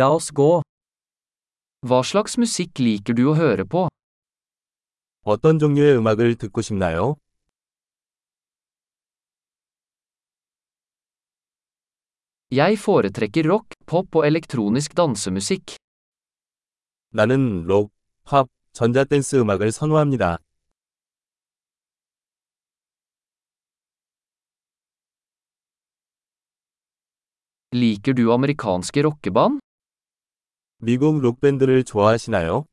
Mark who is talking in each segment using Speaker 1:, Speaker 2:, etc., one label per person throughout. Speaker 1: La oss gå. Hva slags musikk liker du å høre på?
Speaker 2: 어떤 종류의 음악을 듣고 싶나요?
Speaker 1: Jeg foretrekker rock, pop og elektronisk dansemusikk.
Speaker 2: 나는 록, 팝, 전자댄스 음악을 선호합니다.
Speaker 1: Liker du amerikanske rockeband?
Speaker 2: 미국 록밴드를 좋아하시나요?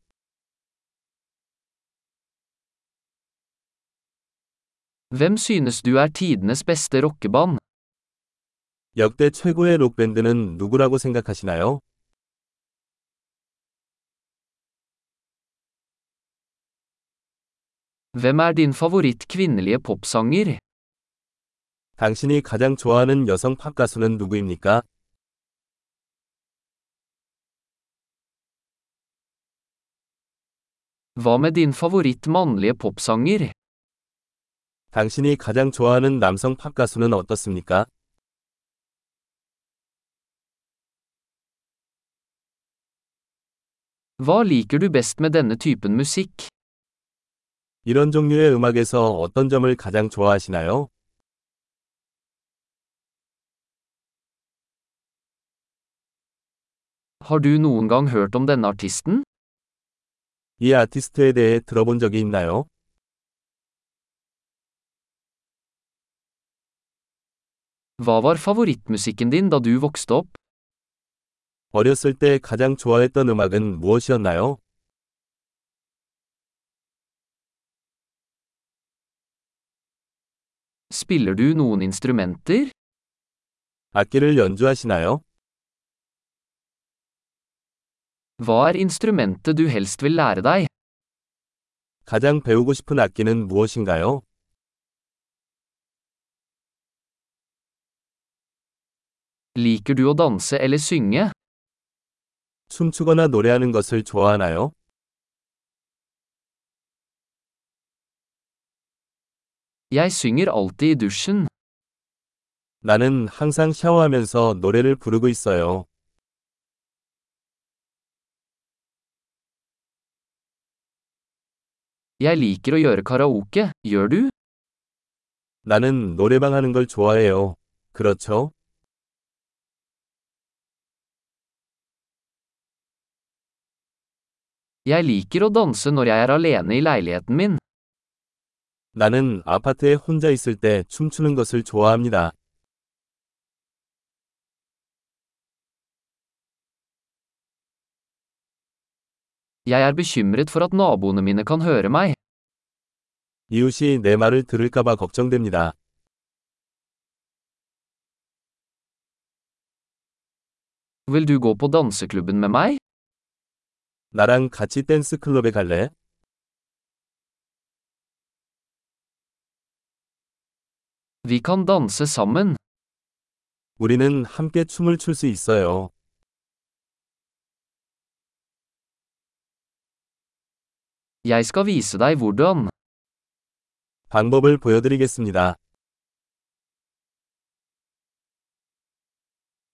Speaker 1: Hvem synes du er tidenes beste rockeband?
Speaker 2: 역대 최고의 록밴드는 누구라고 생각하시나요?
Speaker 1: Hvem er din favoritt kvinnelige popsanger?
Speaker 2: 당신이 가장 좋아하는 여성 팝 가수는 누구입니까?
Speaker 1: Hva med din favoritt mannlige popsanger?
Speaker 2: 당신이 가장 좋아하는 남성 팝 가수는 어떻습니까?
Speaker 1: Hva liker du best med denne typen musikk?
Speaker 2: 이런 종류의 음악에서 어떤 점을 가장 좋아하시나요?
Speaker 1: Har du noen gang hørt om denne artisten?
Speaker 2: 이 아티스트에 대해 들어본 적이 있나요?
Speaker 1: Hva var favorittmusikken din da du vokste opp?
Speaker 2: 어렸을 때 가장 좋아했던 음악은 무엇이었나요?
Speaker 1: Spiller du noen instrumenter?
Speaker 2: 악기를 연주하시나요?
Speaker 1: Hva er instrumentet du helst vil lære deg?
Speaker 2: 가장 배우고 싶은 악기는 무엇인가요?
Speaker 1: Liker du å danse eller synge?
Speaker 2: 춤추거나 노래하는 것을 좋아하나요?
Speaker 1: Jeg synger alltid i dusjen.
Speaker 2: 나는 항상 샤워하면서 노래를 부르고 있어요.
Speaker 1: Jeg liker å gjøre karaoke, gjør du?
Speaker 2: 나는 노래방 하는 걸 좋아해요. 그렇죠?
Speaker 1: Jeg liker å danse når jeg er alene i leiligheten min.
Speaker 2: 나는 아파트에 혼자 있을 때 춤추는 것을 좋아합니다.
Speaker 1: Jeg er bekymret for at naboene mine kan høre meg.
Speaker 2: 이웃이 내 말을 들을까봐 걱정됩니다.
Speaker 1: Vil du gå på danseklubben med meg?
Speaker 2: 나랑 같이 댄스 클럽에 갈래?
Speaker 1: Vi kan danse sammen.
Speaker 2: 우리는 함께 춤을 출 수 있어요.
Speaker 1: Jeg skal vise deg hvordan.
Speaker 2: 방법을 보여드리겠습니다.